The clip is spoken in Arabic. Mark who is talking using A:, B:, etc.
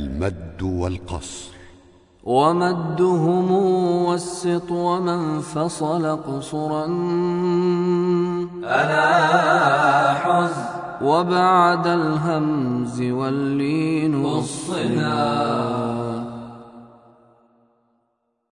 A: المد والقصر
B: ومدهم والسط ومن فصل قصرا أنا حز وبعد الهمز واللين والصنا